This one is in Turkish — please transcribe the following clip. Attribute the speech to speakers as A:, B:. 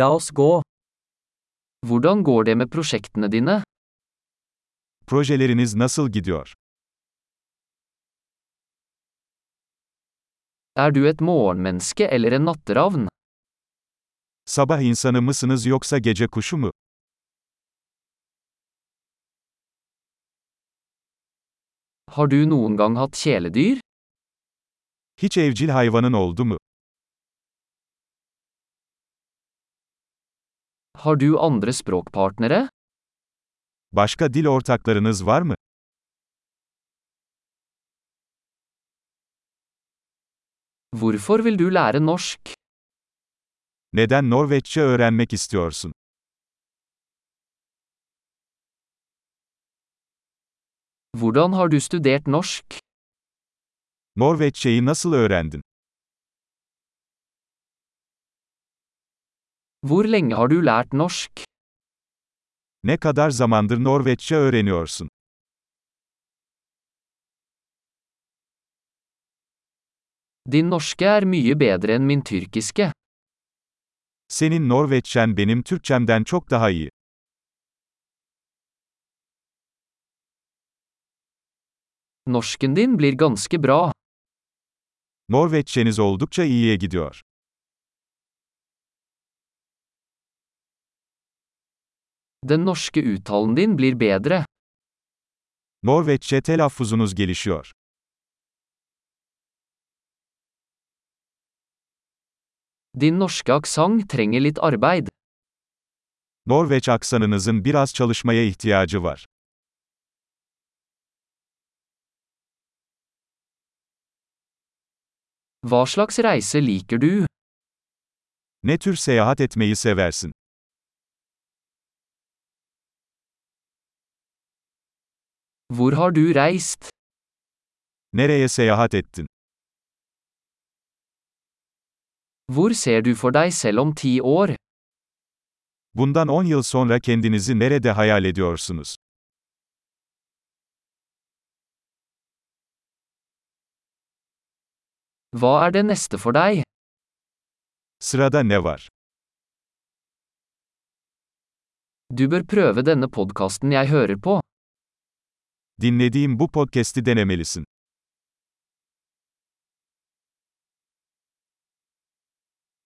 A: La oss gå. Hvordan går det med prosjektene dine?
B: Projeleriniz nasıl gidiyor?
A: Er du et morgenmenneske eller en natteravn?
B: Sabah insanı mısınız yoksa gece kuşu mu?
A: Har du noen gang hatt kjæledyr?
B: Hiç evcil hayvanın oldu mu?
A: Har du andre språkpartnere?
B: Başka dil ortaklarınız var mı?
A: Hvorfor vil du lære norsk?
B: Neden Norveççe öğrenmek istiyorsun?
A: Hvordan har du studert norsk?
B: Norveççeyi nasıl öğrendin?
A: Hvor lenge har du lært norsk?
B: Ne kadar zamandır Norveççe öğreniyorsun?
A: Din norske er mye bedre enn min tyrkiske.
B: Senin Norveççen benim Türkçemden çok daha iyi.
A: Norsken din blir ganske bra.
B: Norveççeniz oldukça iyiye gidiyor.
A: Den norske uttalen din blir bedre.
B: Norveççe telaffuzunuz gelişiyor.
A: Din norske aksent trenger litt arbeid.
B: Norveç aksanınızın biraz çalışmaya ihtiyacı var.
A: Hva slags reise liker du?
B: Ne tür seyahat etmeyi seversin?
A: Hvor har du reist?
B: Nereye seyahat ettin?
A: Hvor ser du for deg selv om ti år?
B: Bundan 10 yıl sonra kendinizi nerede hayal ediyorsunuz?
A: Hva er det neste for deg?
B: Sırada ne var?
A: Du bør prøve denne podkasten jeg hører på.
B: Dinlediğim bu podcast'i denemelisin.